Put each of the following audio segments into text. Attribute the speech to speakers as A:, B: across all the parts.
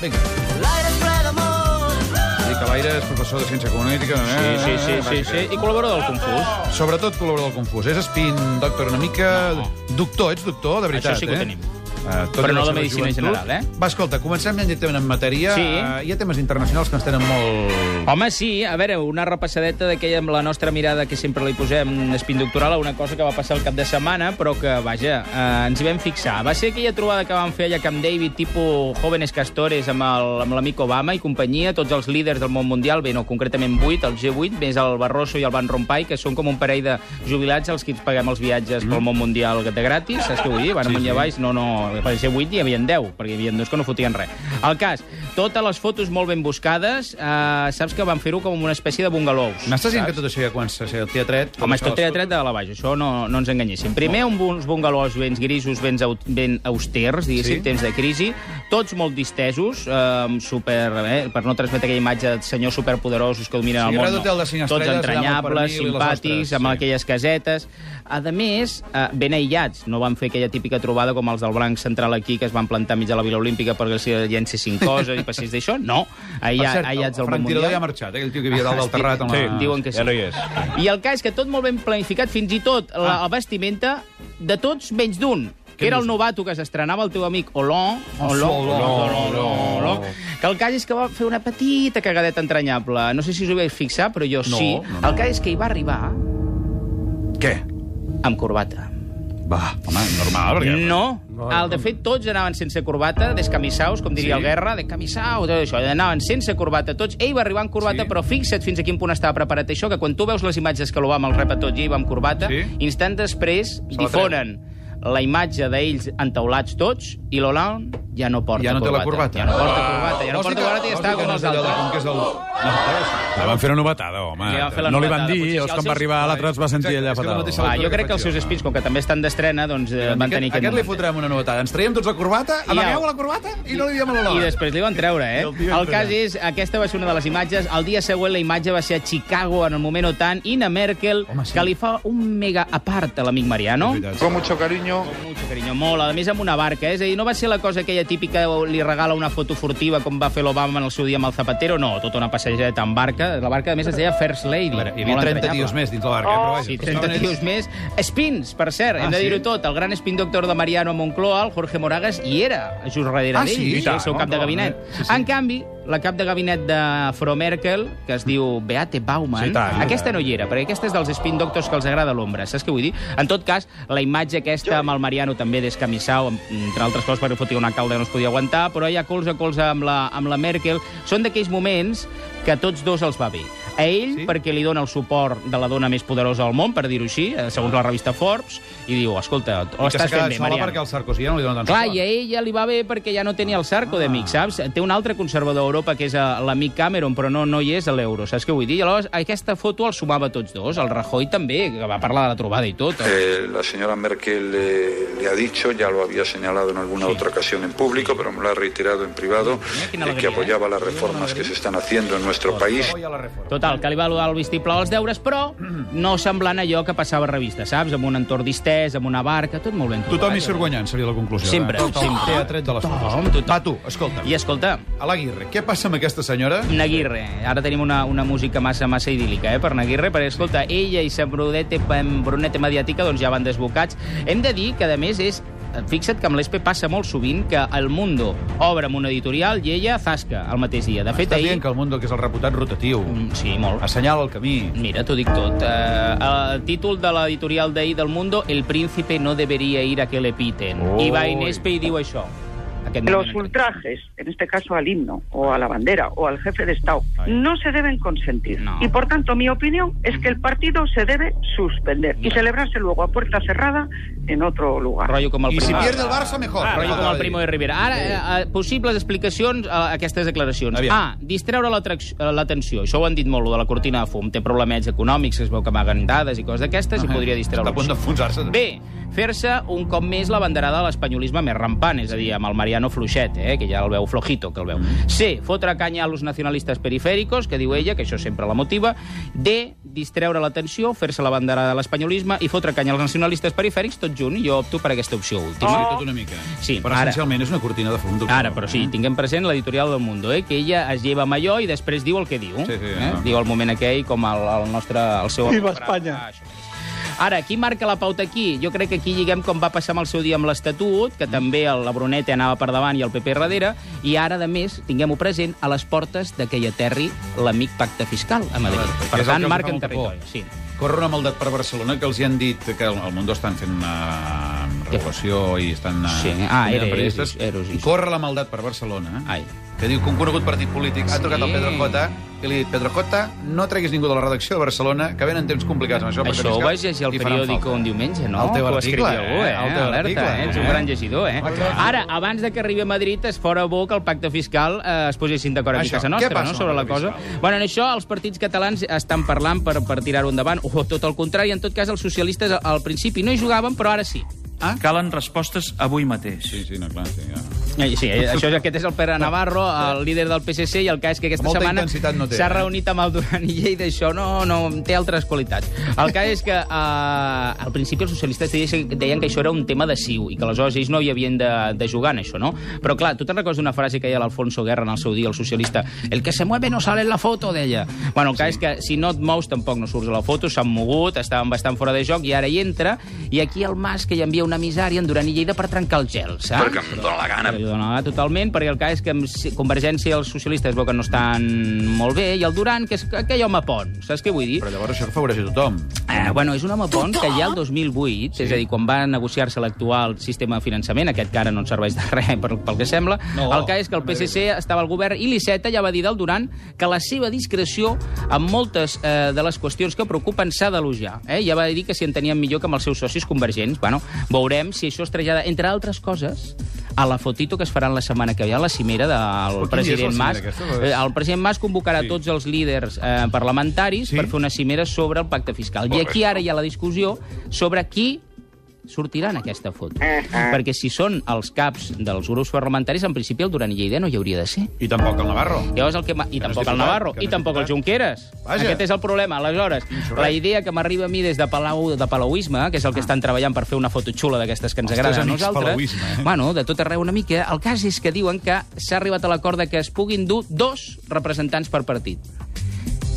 A: Vinga. Dir que l'Aire és professor de ciència econòmica.
B: Sí, sí, sí, sí, sí. I col·laborador del Confús.
A: Sobretot col·laborador del Confús. És espín, doctor una mica...
B: No.
A: Doctor, ets doctor, de veritat,
B: Això sí que ho
A: eh?
B: tenim.
A: Eh, tot
B: Però
A: i la
B: no de
A: seva
B: medicina en
A: joventut.
B: general, eh?
A: Va, escolta, comencem ja directament en matèria.
B: Sí.
A: Eh, hi ha temes internacionals que ens tenen molt...
B: Home, sí, a veure, una repassadeta d'aquella amb la nostra mirada que sempre li posem espin doctoral a una cosa que va passar el cap de setmana, però que, vaja, eh, ens hi vam fixar. Va ser aquella trobada que van fer allà a Camp David, tipus jóvenes castores amb el- amb l'amic Obama i companyia, tots els líders del món mundial, bé, no, concretament 8, el G8, més el Barroso i el Van Rompuy, que són com un parell de jubilats els que ens paguem els viatges pel món mundial de gratis, saps què vull dir? Van
A: Mm. Sí, sí.
B: sí, amunt i avall, no, no, per ser 8 hi havia 10, perquè hi havia dos que no fotien res. El cas, totes les fotos molt ben buscades, eh, saps que van fer-ho com una espècie de bungalows.
A: M'estàs dient
B: saps?
A: que tot això ja comença a ser el teatret?
B: Home, és tot teatret de la baixa, això no, no ens enganyéssim. Primer, un, uns bungalows ben grisos, ben, au- ben austers, diguéssim,
A: Sí.
B: sí? temps de crisi, tots molt distesos, eh, super, eh, per no transmetre aquella imatge de senyors superpoderosos que dominen
A: Sí,
B: el món,
A: Red Hotel de cinc
B: tots
A: estrelles, allà amb el
B: entranyables,
A: pernil i les
B: simpàtics,
A: ostres,
B: amb
A: sí.
B: aquelles casetes. A més, eh, ben aïllats, no van fer aquella típica trobada com els del Blanc Central aquí, que es van plantar mig a la Vila Olímpica perquè els llancessin coses i passés d'això, no.
A: Per
B: Aïlla,
A: cert,
B: aïllats
A: el
B: del món
A: Frank Tirador
B: mundial.
A: ja ha marxat, eh? aquell tio que hi havia dalt del terrat. Amb la...
B: Sí, diuen que sí.
C: ja no hi és.
B: I el cas és que tot molt ben planificat, fins i tot la,
A: Ah.
B: la vestimenta de tots menys d'un que era el novato que s'estrenava el teu amic Olon, Olon,
A: Olon,
B: Olon, Olon, que el cas és que va fer una petita cagadeta entranyable. No sé si us ho vau fixar, però jo
A: No,
B: sí.
A: no, no.
B: El cas és que hi va arribar
A: Què?
B: amb corbata.
A: Va, home, normal, Ah, perquè...
B: No. El, de fet, tots anaven sense corbata, descamissaus, com diria
A: Sí.
B: sí. el Guerra, descamissaus, tot això. Anaven sense corbata tots. Ell va arribar amb corbata,
A: Sí.
B: sí. però fixa't fins a quin punt estava preparat això, que quan tu veus les imatges que l'Obama el rep a tot i ell va amb corbata,
A: Sí.
B: sí. instant després
A: Se la
B: difonen la imatge d'ells entaulats tots i l'Hollande ja no porta
A: Ja no té la corbata.
B: corbata. Ja no porta corbata. Ja no porta corbata i està com els
A: Com que
B: altres.
A: és del... No,
D: La van fer una novetada, home.
B: Li van fer la
D: no li
B: novetada,
D: van dir,
B: potser si
D: llavors
B: els
D: quan va
B: seus-
D: arribar l'altre es va sentir
A: Exacte,
D: allà
A: és que no
D: fatal.
A: mateixa
B: Ah,
A: la
B: jo crec que
A: corbata.
B: els seus espins, com que també estan d'estrena, doncs eh, van tenir
A: aquest
B: aquest
A: li
B: moment.
A: fotrem una novetada. Ens traiem tots la corbata,
B: I ja.
A: amagueu la corbata i no li diem a
B: I
A: l'Olot.
B: després li van treure, eh?
D: el tio
B: El cas és, aquesta va ser una de les imatges. El dia següent la imatge va ser a Chicago, en el moment o tant. Ina Merkel,
A: Home, sí.
B: que li fa un mega apart a l'amic Mariano.
E: Con mucho cariño.
B: Mucho cariño, molt. A més, amb una barca, eh? És a dir, no va ser la cosa aquella típica li regala una foto furtiva com va fer l'Obama en el seu dia amb el Zapatero, no. Tota una passejeta en barca. La barca, a més, es deia First Lady.
A: A veure, hi havia
B: Molt
A: 30
B: entranyable.
A: tios més dins la barca, eh, però vaja.
B: Sí,
A: però
B: 30
A: estaven ells-
B: tios més. Spins, per cert,
A: Ah,
B: hem de dir-ho
A: sí?
B: tot. El gran spin doctor de Mariano a Moncloa, el Jorge Moragas, hi era, just darrere
A: Ah,
B: d'ell,
A: sí? I
B: el seu
A: tant,
B: cap de
A: home,
B: gabinet.
A: home. Sí, sí.
B: Sí, sí. En canvi, la cap de gabinet de Frau Merkel, que es diu Beate Baumann,
D: Sí, tant.
B: aquesta no hi era, perquè aquesta és dels spin doctors que els agrada l'ombra, saps què vull dir? En tot cas, la imatge aquesta amb el Mariano també d'escamissau, amb- entre altres coses perquè fotia una calda que no es podia aguantar, però ella colze a colze amb la, amb la Merkel, són d'aquells moments que a tots dos els va bé. A ell,
A: Sí?
B: sí? perquè li dona el suport de la dona més poderosa del món, per dir-ho així, eh, segons la revista Forbes, i diu, escolta, ho
A: Que s'ha quedat
B: estàs fent bé,
A: sola perquè
B: Mariano.
A: el Sarkozy ja no li dona tant
B: Clar,
A: suport.
B: i a ella li va bé perquè ja no tenia el Sarko d'amic, saps? Té un altre conservador a Europa, que és eh, l'amic Cameron, però no, no hi és a l'euro, saps què vull dir? I llavors, aquesta foto el sumava tots dos, el Rajoy també, que va parlar de la trobada i tot. Eh?
F: Eh, la señora Merkel eh, le ha dicho, ya lo había señalado en alguna otra ocasión en público, pero me lo ha reiterado en privado,
B: Mira quina
F: eh, que
B: alegria,
F: apoyaba
B: eh?
F: las reformas que se están haciendo en nuestro país.
A: Oi a la reforma.
B: Total, que li va al vistiplau als deures, però no semblant a allò que passava a revista, saps? Amb un entorn distès, amb una barca, tot molt ben
A: Tothom hi
B: trobat.
A: surt guanyant, seria la conclusió.
B: Sempre,
A: Eh? Tothom
B: sempre.
A: té a tret de les
B: Tothom,
A: fotos.
B: tothom.
A: Va, tu, escolta.
B: I escolta,
A: A l'Aguirre, què passa amb aquesta senyora?
B: Naguirre. Ara tenim una, una música massa, massa idíl·lica, eh, per Naguirre, perquè, escolta, ella i sa brunete, brunete mediàtica doncs ja van desbocats. Hem de dir que, a més, és eh, Fixa't que amb l'ESPE passa molt sovint que El Mundo obre amb un editorial i ella zasca el mateix dia. De fet,
A: Estàs
B: ahir...
A: dient que el Mundo, que és el reputat rotatiu,
B: Mm, Sí, molt.
A: assenyala el camí.
B: Mira, t'ho dic tot. Uh, el títol de l'editorial d'ahir del Mundo, El príncipe no debería ir a que le piten. I va Inespe i diu això. Aquest
G: Los
B: moment.
G: ultrajes, en este caso al himno o a la bandera o al jefe de Estado, no se deben consentir.
B: No.
G: Y por tanto, mi opinión es que el partido se debe suspender y
B: Mira.
G: celebrarse luego a puerta cerrada en otro lugar.
B: Rotllo com el
A: I si
B: Primo.
A: pierde el Barça, mejor.
B: Ah, rotllo
A: Ah,
B: com
A: va
B: el Primo
A: dir.
B: de Rivera. Ara, eh, eh, possibles explicacions a aquestes declaracions.
A: Aviam.
B: A. Distreure l'atrac- eh, l'atenció. Això ho han dit molt, lo de la cortina de fum. Té problemes econòmics, es veu que amaguen dades i coses d'aquestes, i podria
A: Està a punt
B: distreure-los.
A: d'enfonsar-se.
B: B. fer-se un cop més la banderada de l'espanyolisme més rampant, és a dir, amb el Mariano Fluixet, eh, que ja el veu flojito, que el veu.
A: Mm.
B: C, fotre canya a los nacionalistes perifèricos, que diu ella, que això sempre la motiva. D, distreure l'atenció, fer-se la banderada de l'espanyolisme i fotre canya als nacionalistes perifèrics, tot junt, jo opto per aquesta opció última.
A: Sí, tot una mica.
B: Sí,
A: però
B: ara-
A: essencialment és una cortina de fum. doctor.
B: Ara, però sí, tinguem present l'editorial del Mundo, eh? que ella es lleva amb allò i després diu el que diu.
A: Sí, sí,
B: eh?
A: ah.
B: Diu el moment aquell com el, el nostre... El seu
C: Viva Espanya.
B: Ah, això mateix. Ara, qui marca la pauta aquí? Jo crec que aquí lliguem com va passar amb el seu dia amb l'Estatut,
A: Mm.
B: que també el, la Bruneta anava per davant i el PP darrere, i ara, de més, tinguem-ho present, a les portes de que hi aterri l'amic pacte fiscal a Madrid.
A: Clar,
B: Per
A: és el que
B: tant,
A: els fa
B: marquen
A: molta por.
B: territori. Sí.
A: Corre una maldat per Barcelona que els hi han dit que el el Mundo estan fent una regulació i estan... eh,
B: Sí, ah,
A: convidant
B: era
A: periodistes.
B: Eros, Eros,
A: I corre la maldat per Barcelona eh?
B: Ai.
A: que diu que un conegut partit polític ha trucat al Pedro Cota i li ha dit Pedro Cota, no treguis ningú de la redacció de Barcelona, que venen temps complicats amb això. perquè
B: Això ho
A: fiscal
B: vaig llegir al
A: i faran
B: periòdico
A: falta."
B: un diumenge, no?
A: El teu
B: Que ho ha
A: article,
B: escrit algú, eh?
A: eh? El teu
B: Alerta,
A: article,
B: eh? Ets un
A: eh?
B: gran llegidor, eh?
A: Home, clar.
B: Ara, abans de que arribi a Madrid, es fora bo que el pacte fiscal eh, es posessin d'acord aquí a
A: Això,
B: casa
A: què
B: nostra,
A: passa
B: no?,
A: amb
B: sobre
A: el
B: la
A: pacte
B: cosa.
A: fiscal?
B: Bueno, en això els partits catalans estan parlant per, per tirar-ho endavant, o tot el contrari, en tot cas els socialistes al principi no hi jugaven, però ara sí.
E: Calen respostes avui mateix.
A: Sí, sí, no, clar, sí, ja.
B: Eh, Sí, eh, això és, aquest és el Pere Navarro, el líder del PSC, i el cas és que aquesta
A: Eh. Molta
B: setmana
A: intensitat no té,
B: s'ha
A: eh?
B: reunit amb el Duran i Lleida, això no, no té altres qualitats. El cas és que eh, al principi els socialistes deien, deien que això era un tema de siu i que aleshores ells no hi havien de, de jugar en això, no? Però clar, tu te'n recordes d'una frase que deia l'Alfonso Guerra en el seu dia, el socialista, el que se mueve no sale en la foto, deia. Bueno, el cas sí. és que si no et mous tampoc no surts a la foto, s'han mogut, estaven bastant fora de joc i ara hi entra, i aquí el Mas que hi envia una misària en Duran i Lleida per trencar el gel, saps?
F: Perquè em dóna la gana.
B: Li dona totalment, perquè el cas és que amb Convergència i els socialistes veu que no estan molt bé, i el Duran, que és aquell home pont, saps què vull dir?
A: Però llavors això afavoreix a tothom.
B: Eh, bueno, és un home pont que ja el 2008, sí. és a dir, quan va negociar-se l'actual sistema de finançament, aquest que ara no ens serveix de res pel, pel que sembla, no, el cas és que el PSC estava al govern i l'Iceta ja va dir del Duran que la seva discreció en moltes eh, de les qüestions que preocupen s'ha d'elogiar. Eh? Ja va dir que s'hi entenien millor que amb els seus socis convergents. Bueno, veurem si això es trasllada, entre altres coses, a la fotito que es faran la setmana que ve a la cimera del
A: Però quin dia és la
B: president Mas.
A: cimera aquesta?
B: Eh, El president Mas convocarà sí. tots els líders eh, parlamentaris sí? per fer una cimera sobre el pacte fiscal. I aquí ara hi ha la discussió sobre qui sortirà en aquesta foto. Perquè si són els caps dels grups parlamentaris, en principi el Duran i Lleida no hi hauria de ser.
A: I tampoc el Navarro.
B: Llavors el que ma-
A: no
B: I
A: és
B: tampoc el
A: diputat,
B: Navarro,
A: que no
B: i
A: és
B: tampoc el
A: diputat.
B: Junqueras.
A: Vaja.
B: Aquest és el problema. Aleshores, la idea que m'arriba a mi des de Palau de Palauisme, que és el que estan treballant per fer una foto xula d'aquestes que ens
A: Els
B: agraden a
A: teus Ah. amics
B: nosaltres...
A: palauisme, eh?
B: Bueno, de tot arreu una mica. El cas és que diuen que s'ha arribat a l'acord de que es puguin dur dos representants per partit.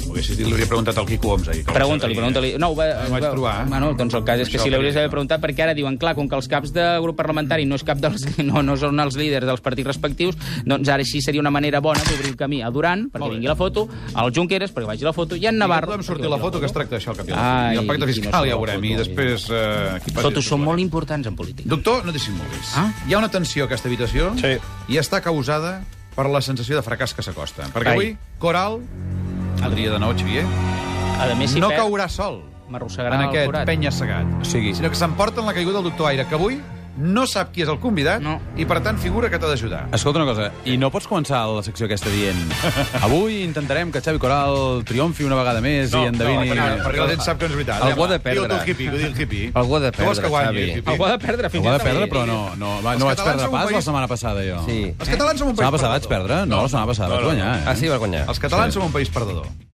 A: Ho haguessis dit, li hauria preguntat al Quico Oms ahir. que
B: Pregunta-li,
A: ho sabia.
B: pregunta-li. No, ho, va,
A: Ho vaig
B: va-
A: trobar. eh?
B: Bueno, doncs el cas és que
A: Això
B: si l'hauries
A: crec,
B: d'haver
A: no?
B: preguntat, perquè ara diuen, clar, com que els caps de grup parlamentari no, és cap dels, no, no són els líders dels partits respectius, doncs ara així seria una manera bona d'obrir el camí a Duran, perquè
A: Molt bé.
B: vingui la foto, al Junqueras, perquè vagi la foto, i en
A: I no
B: Navarro...
A: podem sortir
B: perquè
A: a la
B: vagi
A: foto que es tracta d'això al cap i a la
B: Ai,
A: fi. I el pacte
B: i no
A: fiscal
B: surt
A: ja
B: la
A: ho veurem.
B: foto,
A: I després... Eh, qui passi
B: Fotos
A: després.
B: són molt importants en política.
A: Doctor, no dissimulis.
B: Ah.
A: Hi ha una tensió a aquesta habitació
C: Sí.
A: i està causada per la sensació de fracàs que s'acosta. Perquè
B: Ai.
A: avui, Coral, el dia de nou, Xavier,
B: A més, si
A: no
B: perd,
A: caurà sol
B: m'arrossegarà
A: en
B: el
A: aquest
B: forat.
A: penya-segat,
C: O sigui,
A: sinó que s'emporta en la caiguda del doctor Aire, que avui no sap qui és el convidat
B: No.
A: i, per tant, figura que t'ha d'ajudar.
D: Escolta una cosa, i no pots començar la secció aquesta dient avui intentarem que Xavi Coral triomfi una vegada més i
A: No,
D: endevini...
A: perquè, perquè la gent sap que no és veritat.
D: Algú ha de
A: Diu-ho tu,
D: perdre.
A: el hippie, que ho diu el hippie.
D: Algú ha de
A: Tu vols que
D: perdre,
A: guanyi,
D: Xavi.
A: el hippie?
B: Algú ha de perdre, fins
D: Ho ha
B: i
D: de
B: tot.
D: perdre, però no, no, va, no
A: Els
D: vaig perdre
A: catalans
D: pas
A: som un
D: la
A: país-
D: setmana passada, jo.
C: sí.
A: Els catalans som un
D: La
A: país
D: setmana passada vaig
A: perdedor.
D: perdre? No, la setmana passada vaig guanyar. eh?
C: Ah, sí, va guanyar.
A: Els catalans som un país perdedor.